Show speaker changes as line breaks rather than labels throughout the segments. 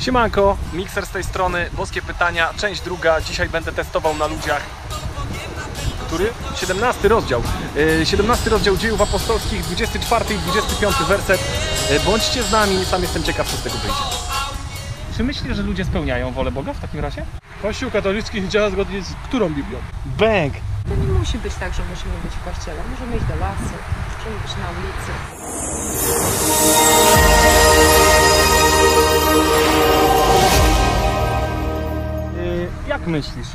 Siemanko, mikser z tej strony, boskie pytania, część druga. Dzisiaj będę testował na ludziach. Który? 17 rozdział. Yy, 17 rozdział dziejów apostolskich, 24 i 25 werset. Yy, Bądźcie z nami, sam jestem ciekaw, co z tego wyjdzie. Czy myślisz, że ludzie spełniają wolę Boga w takim razie?
Kościół katolicki działa zgodnie z którą Biblią?
Bęk!
To nie musi być tak, że musimy być w kościele. Możemy iść do lasu, możemy być na ulicy.
Y, jak myślisz?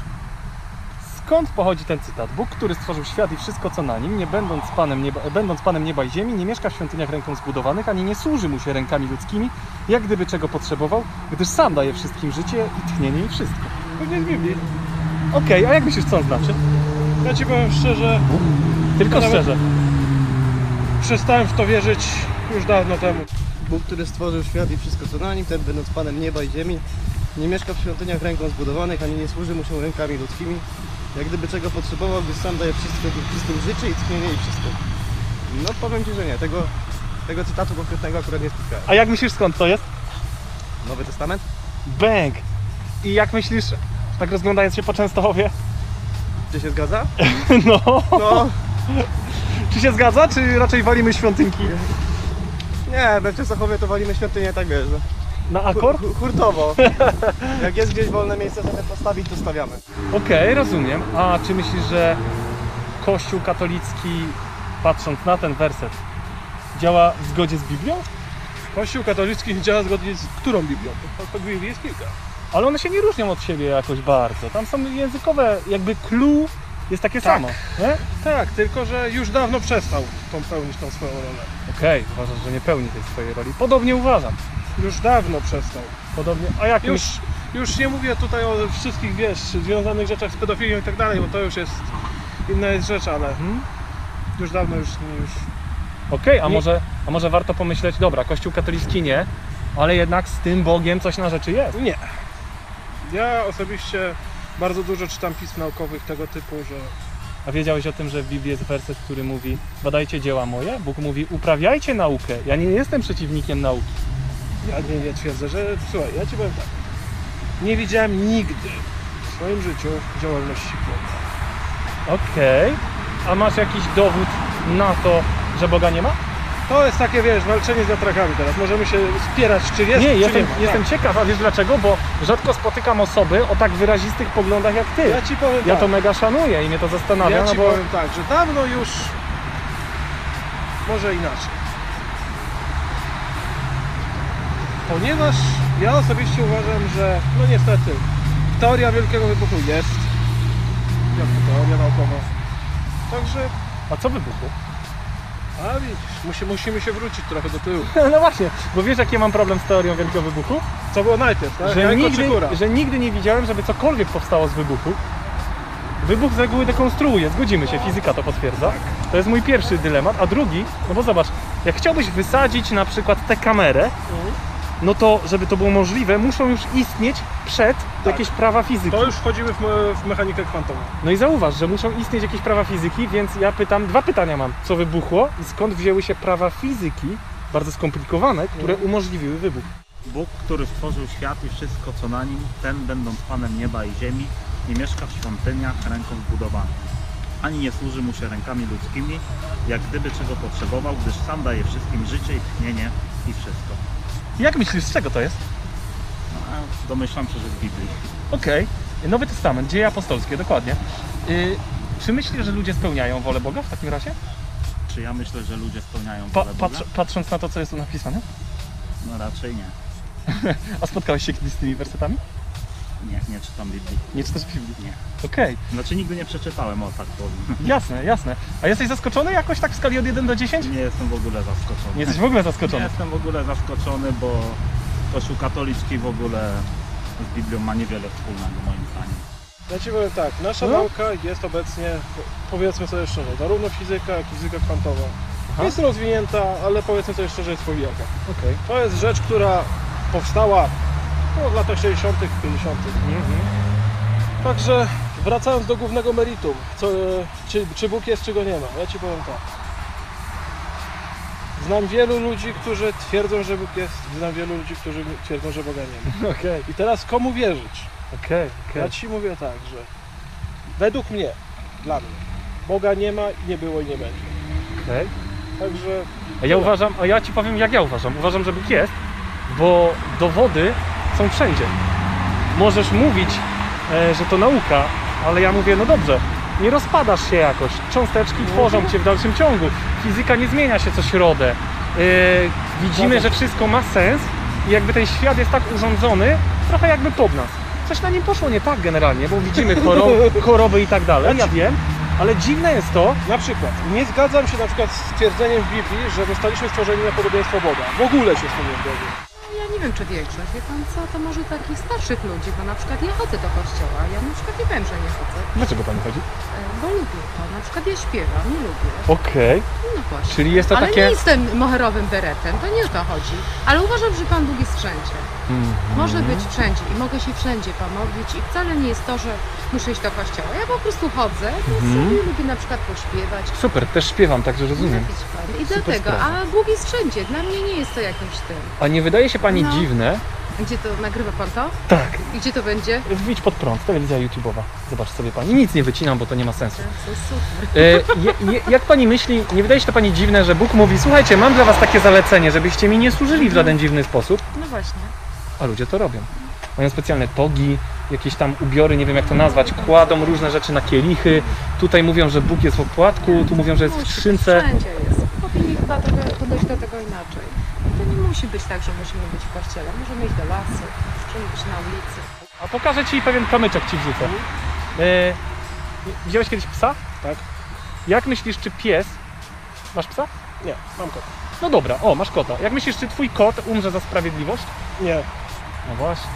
Skąd pochodzi ten cytat? Bóg, który stworzył świat i wszystko co na nim, nie będąc Panem nieba, będąc panem nieba i ziemi, nie mieszka w świątyniach ręką zbudowanych, ani nie służy mu się rękami ludzkimi, jak gdyby czego potrzebował, gdyż sam daje wszystkim życie i tchnienie i wszystko.
Pewnie z Biblii.
Okej, a jak myślisz, co on znaczy?
Ja ci powiem szczerze,
Tylko
Nawet-
szczerze.
przestałem w to wierzyć już dawno temu.
Bóg, który stworzył świat i wszystko co na nim, ten będąc Panem nieba i ziemi, nie mieszka w świątyniach ręką zbudowanych, ani nie służy mu się rękami ludzkimi. Jak gdyby czego potrzebował, gdy sam daje wszystko, wszystkim życie i tchnienie i wszystko. No powiem Ci, że nie. Tego, tego cytatu konkretnego akurat nie spotkałem.
A jak myślisz, skąd to jest?
Nowy Testament?
Bęk! I jak myślisz, tak rozglądając się po Częstochowie,
Czy się zgadza?
no,
No,
czy się zgadza, czy raczej walimy świątynki
nie, we Wczesochowie to walimy świątynię, tak wiesz. no.
na
Hu-
akord?
hu- Hurtowo. Jak jest gdzieś wolne miejsce, żeby postawić, to stawiamy.
Okej, rozumiem. A czy myślisz, że Kościół katolicki, patrząc na ten werset, działa w zgodzie z Biblią?
Kościół katolicki działa zgodnie z którą Biblią? Bo po- po Biblii jest kilka.
Ale one się nie różnią od siebie jakoś bardzo. Tam są językowe, jakby clue jest takie
Tak.
samo. Nie?
Tak, tylko że już dawno przestał tą pełnić tą swoją rolę.
Okej, uważasz, że nie pełni tej swojej roli. Podobnie uważam.
Już dawno przestał.
Podobnie. A jak
Już,
myśl-
już nie mówię tutaj o wszystkich, wiesz, związanych rzeczach z pedofilią i tak dalej, bo to już jest inna jest rzecz, ale
Mhm.
już dawno już, już
Okej, a,
Nie-
może, a może warto pomyśleć, dobra, Kościół katolicki nie, ale jednak z tym Bogiem coś na rzeczy jest.
Nie. Ja osobiście bardzo dużo czytam pism naukowych tego typu, że
A wiedziałeś o tym, że w Biblii jest werset, który mówi badajcie dzieła moje? Bóg mówi uprawiajcie naukę. Ja nie jestem przeciwnikiem nauki.
ja nie, nie twierdzę, że słuchaj, ja ci powiem tak. Nie widziałem nigdy w swoim życiu działalności Boga.
Okej. A masz jakiś dowód na to, że Boga nie ma?
To jest takie, wiesz, walczenie z wiatrakami teraz. Możemy się spierać, czy jest,
nie,
czy
jestem,
nie ma.
jestem ciekaw, a wiesz dlaczego? Bo rzadko spotykam osoby o tak wyrazistych poglądach jak ty.
tak. Ja ci powiem
Ja
tak.
to mega szanuję i mnie to zastanawia,
ja
no
ci
bo
powiem tak, że dawno już może inaczej. Ponieważ ja osobiście uważam, że no niestety teoria wielkiego wybuchu jest. Jak to teoria naukowa. Także,
a co wybuchło?
a widzisz, musi, musimy się wrócić trochę do tyłu.
No właśnie, bo wiesz jaki ja mam problem z teorią wielkiego wybuchu?
Co było najpierw, tak?
że,
Jajko
nigdy,
czy góra?
że nigdy nie widziałem, żeby cokolwiek powstało z wybuchu. Wybuch z reguły dekonstruuje, zgodzimy się, fizyka to potwierdza. To jest mój pierwszy dylemat. A drugi, no bo zobacz, jak chciałbyś wysadzić na przykład tę kamerę, no to żeby to było możliwe, muszą już istnieć przed jakieś prawa fizyki.
Tak. To już wchodzimy w, me- w mechanikę kwantową.
No i zauważ, że muszą istnieć jakieś prawa fizyki, więc ja pytam, dwa pytania mam. Co wybuchło i skąd wzięły się prawa fizyki, bardzo skomplikowane, które
Mhm.
umożliwiły wybuch?
Bóg, który stworzył świat i wszystko co na nim, ten będąc Panem nieba i ziemi, nie mieszka w świątyniach ręką zbudowanych, ani nie służy mu się rękami ludzkimi, jak gdyby czego potrzebował, gdyż sam daje wszystkim życie i tchnienie i wszystko.
Jak myślisz, z czego to jest?
No, a domyślam się, że z Biblii.
Okej, Nowy Testament, dzieje apostolskie, dokładnie. Yy, czy myślisz, że ludzie spełniają wolę Boga w takim razie?
Czy ja myślę, że ludzie spełniają
Pa,
wolę
patrz,
Boga?
patrząc na to, co jest tu napisane?
No raczej nie.
A spotkałeś się kiedyś z tymi wersetami?
Nie, nie czytam Biblii.
Nie czytasz Biblii?
Nie.
Okej,
Znaczy nigdy nie przeczytałem, o tak powiem.
jasne, jasne. A jesteś zaskoczony jakoś tak w skali od 1 do 10?
Nie jestem w ogóle zaskoczony.
Nie jesteś w ogóle
Nie
zaskoczony.
jestem w ogóle zaskoczony, bo Kościół katolicki w ogóle z Biblią ma niewiele wspólnego moim zdaniem.
Ja ci powiem tak, nasza
No.
nauka jest obecnie, powiedzmy sobie szczerze, zarówno fizyka, jak i fizyka kwantowa.
Aha.
Jest rozwinięta, ale powiedzmy sobie szczerze, jest powijaka.
Okej.
To jest rzecz, która powstała no, w latach 60., 50.
Mhm.
Także wracając do głównego meritum, co, czy, czy Bóg jest, czy go nie ma, ja ci powiem tak. Znam wielu ludzi, którzy twierdzą, że Bóg jest, znam wielu ludzi, którzy twierdzą, że Boga nie ma.
Okej,
I teraz komu wierzyć?
okej,
Ja ci mówię tak, że według mnie, dla mnie, Boga nie ma i nie było i nie będzie.
okej.
Także
A ja uważam, a ja ci powiem jak ja uważam. Uważam, że Bóg jest, bo dowody są wszędzie. Możesz mówić, e, że to nauka, ale ja mówię, no dobrze, nie rozpadasz się jakoś. Cząsteczki tworzą cię w dalszym ciągu. Fizyka nie zmienia się co środę. E, widzimy, że wszystko ma sens i jakby ten świat jest tak urządzony, trochę jakby pod nas. Coś na nim poszło nie tak generalnie, bo widzimy choroby, choroby i tak dalej, ja wiem, ale dziwne jest to,
na przykład, nie zgadzam się na przykład z twierdzeniem w Biblii, że zostaliśmy stworzeni na podobieństwo Boga. W ogóle się z tym nie zgodzę.
Ja nie wiem, czy większość, wie pan co, to może takich starszych ludzi, bo na przykład ja chodzę do kościoła, ja na przykład nie wiem, że nie chodzę,
Dlaczego pani chodzi?
e, bo lubię to, na przykład ja śpiewam i lubię,
Okej,
no właśnie.
czyli jest to
Ale
takie...
nie jestem moherowym beretem, to nie o to chodzi, ale uważam, że Pan Bóg jest wszędzie.
Mhm.
Może być wszędzie i mogę się wszędzie pomodlić i wcale nie jest to, że muszę iść do kościoła. Ja po prostu chodzę, no
Mhm.
sobie lubię na przykład pośpiewać,
Super, też śpiewam, także rozumiem.
trafić Panu. I
Super
dlatego,
sprawa.
a Bóg jest wszędzie, dla mnie nie jest to jakimś tym.
A nie wydaje się pani
No.
dziwne?
Gdzie to, nagrywa Pan to?
Tak.
I gdzie to będzie?
Idź pod prąd, telewizja YouTube'owa. Zobacz sobie pani. Nic nie wycinam, bo to nie ma sensu.
To jest
E,
super.
je, je, jak pani myśli, nie wydaje się to pani dziwne, że Bóg mówi, słuchajcie, mam dla was takie zalecenie, żebyście mi nie służyli w żaden dziwny sposób,
No właśnie.
a ludzie to robią. Mają specjalne togi, jakieś tam ubiory, nie wiem jak to nazwać, kładą różne rzeczy na kielichy. Tutaj mówią, że Bóg jest w opłatku, tu mówią, że jest w
Musi być,
skrzynce.
Wszędzie jest. Powinni chyba trochę podejść do tego inaczej. To nie musi być tak, że musimy być w kościele. Możemy iść do lasu, możemy być na ulicy.
A pokażę ci pewien kamyczek ci wrzucę. E, widziałeś kiedyś psa?
Mhm. Tak?
Jak myślisz, czy pies. Masz psa?
Nie, mam tak. kota.
No dobra, o, masz kota. Jak myślisz, czy twój kot umrze za sprawiedliwość?
Nie.
No właśnie.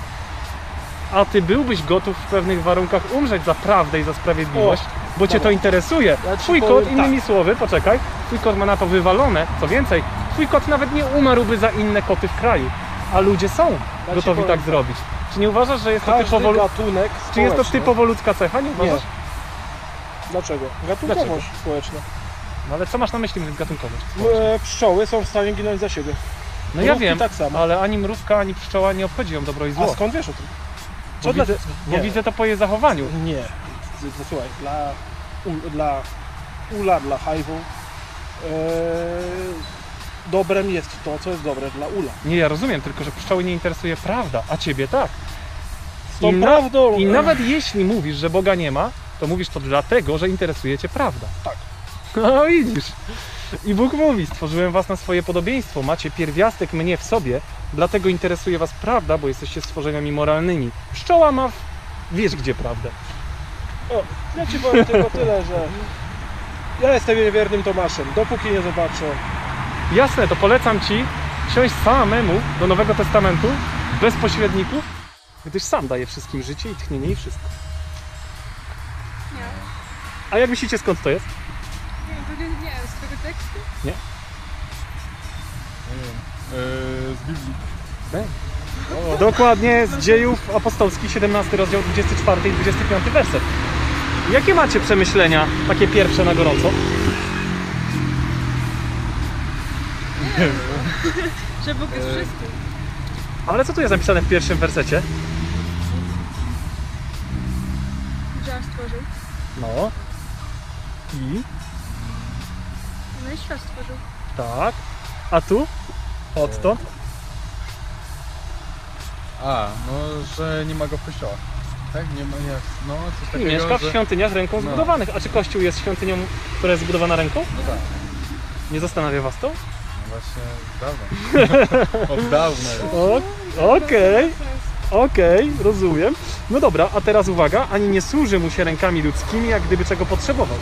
A ty byłbyś gotów w pewnych warunkach umrzeć za prawdę i za sprawiedliwość, bo cię to
dobra.
interesuje.
Ja ci
twój
powiem tak.
kot, innymi słowy, poczekaj, twój kot ma na to wywalone, co więcej, twój kot nawet nie umarłby za inne koty w kraju, a ludzie są
ci
gotowi
powiem
tak
tak.
zrobić. Czy nie uważasz, że jest to
Każdy
typowo, lu-
gatunek
czy jest to
społeczny-
typowo ludzka cecha? Nie uważasz?
Dlaczego? Gatunkowość społeczna.
No ale co masz na myśli mówiąc gatunkowo?
E, Pszczoły są w stanie ginąć za siebie.
No ja
mrówki
wiem,
tak samo.
ale ani mrówka, ani pszczoła nie obchodzi ją dobro i
A
zło.
skąd wiesz o tym?
Bo
dla-
widzę, bo
Nie.
widzę to po jej zachowaniu.
Nie. Z- z- Słuchaj, dla, u, dla ula, dla hajwu e, dobrem jest to, co jest dobre dla ula.
Nie, ja rozumiem, tylko że pszczoły nie interesuje prawda, a ciebie tak.
Z tą
I na-
prawdą...
I
e,
nawet jeśli mówisz, że Boga nie ma, to mówisz to dlatego, że interesuje cię prawda.
Tak.
No widzisz. I Bóg mówi, stworzyłem was na swoje podobieństwo, macie pierwiastek mnie w sobie, dlatego interesuje was prawda, bo jesteście stworzeniami moralnymi. Pszczoła ma, w... wiesz gdzie prawdę.
O, ja ci powiem tylko tyle, że ja jestem niewiernym Tomaszem, dopóki nie zobaczę.
Jasne, to polecam ci siąść samemu do Nowego Testamentu, bez pośredników, gdyż sam daje wszystkim życie i tchnienie i wszystko. A jak myślicie, skąd to jest?
Nie, nie, z tego tekstu?
Dokładnie z dziejów apostolskich, 17 rozdział, 24 i 25 werset. Jakie macie przemyślenia, takie pierwsze na gorąco?
Że Bóg
E.
jest wszystkim.
Ale co tu jest napisane w pierwszym wersecie?
że aż stworzył.
No. I?
No i świat stworzył.
Tak. A tu? Odtąd?
A, no, że nie ma go w kościołach. Tak? Nie ma, jak, no, coś
I
takiego,
mieszka w
że... No.
świątyniach ręką zbudowanych. A czy kościół jest świątynią, która jest zbudowana ręką?
tak.
Nie zastanawia was to?
No właśnie, dawno. Od dawna już.
O- Okej, okej, rozumiem. No dobra, a teraz uwaga, ani nie służy mu się rękami ludzkimi, jak gdyby czego potrzebował.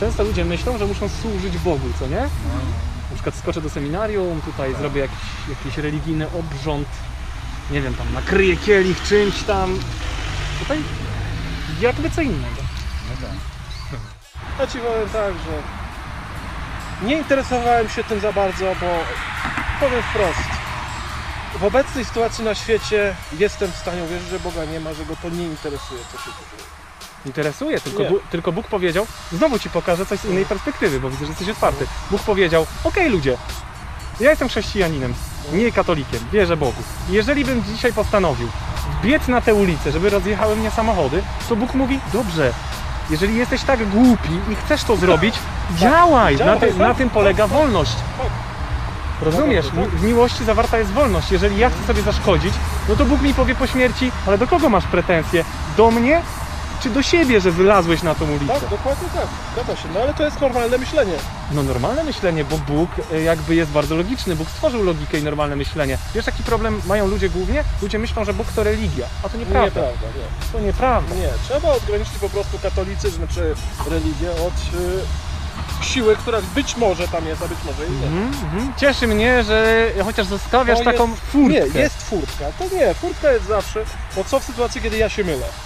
Często ludzie myślą, że muszą służyć Bogu, co nie? Na przykład skoczę do seminarium, tutaj zrobię jakiś, jakiś religijny obrząd, nie wiem, tam nakryję kielich czymś tam. Tutaj jakby co innego.
Ja ci powiem tak, że nie interesowałem się tym za bardzo, bo powiem wprost. W obecnej sytuacji na świecie jestem w stanie uwierzyć, że Boga nie ma, że go to nie interesuje, co się tu dzieje.
Interesuje, tylko,
Nie.
Bu- tylko Bóg powiedział, znowu ci pokażę coś z innej perspektywy, bo widzę, że jesteś otwarty. Bóg powiedział, okej ludzie, ja jestem chrześcijaninem, nie katolikiem, wierzę Bogu. Jeżeli bym dzisiaj postanowił biec na tę ulicę, żeby rozjechały mnie samochody, to Bóg mówi, dobrze, jeżeli jesteś tak głupi i chcesz to zrobić, działaj, na,
Działaj,
ty,
tak,
na tym polega wolność. Rozumiesz,
Tak, tak.
Mi- w miłości zawarta jest wolność. Jeżeli ja chcę sobie zaszkodzić, no to Bóg mi powie po śmierci, ale do kogo masz pretensje? Do mnie czy do siebie, że wylazłeś na tą ulicę?
Tak, dokładnie tak. Zgadza się. No ale to jest normalne myślenie.
No normalne myślenie, bo Bóg e, jakby jest bardzo logiczny. Bóg stworzył logikę i normalne myślenie. Wiesz, jaki problem mają ludzie głównie? Ludzie myślą, że Bóg to religia, a to nieprawda.
Nieprawda, nie.
To nieprawda.
Nie, trzeba odgraniczyć po prostu katolicyzm czy religię od y, siły, która być może tam jest, a być może i nie.
Mhm, mhm. Cieszy mnie, że chociaż zostawiasz
To
taką
jest-
furtkę.
Nie, jest furtka. To nie, furtka jest zawsze. Bo co w sytuacji, kiedy ja się mylę?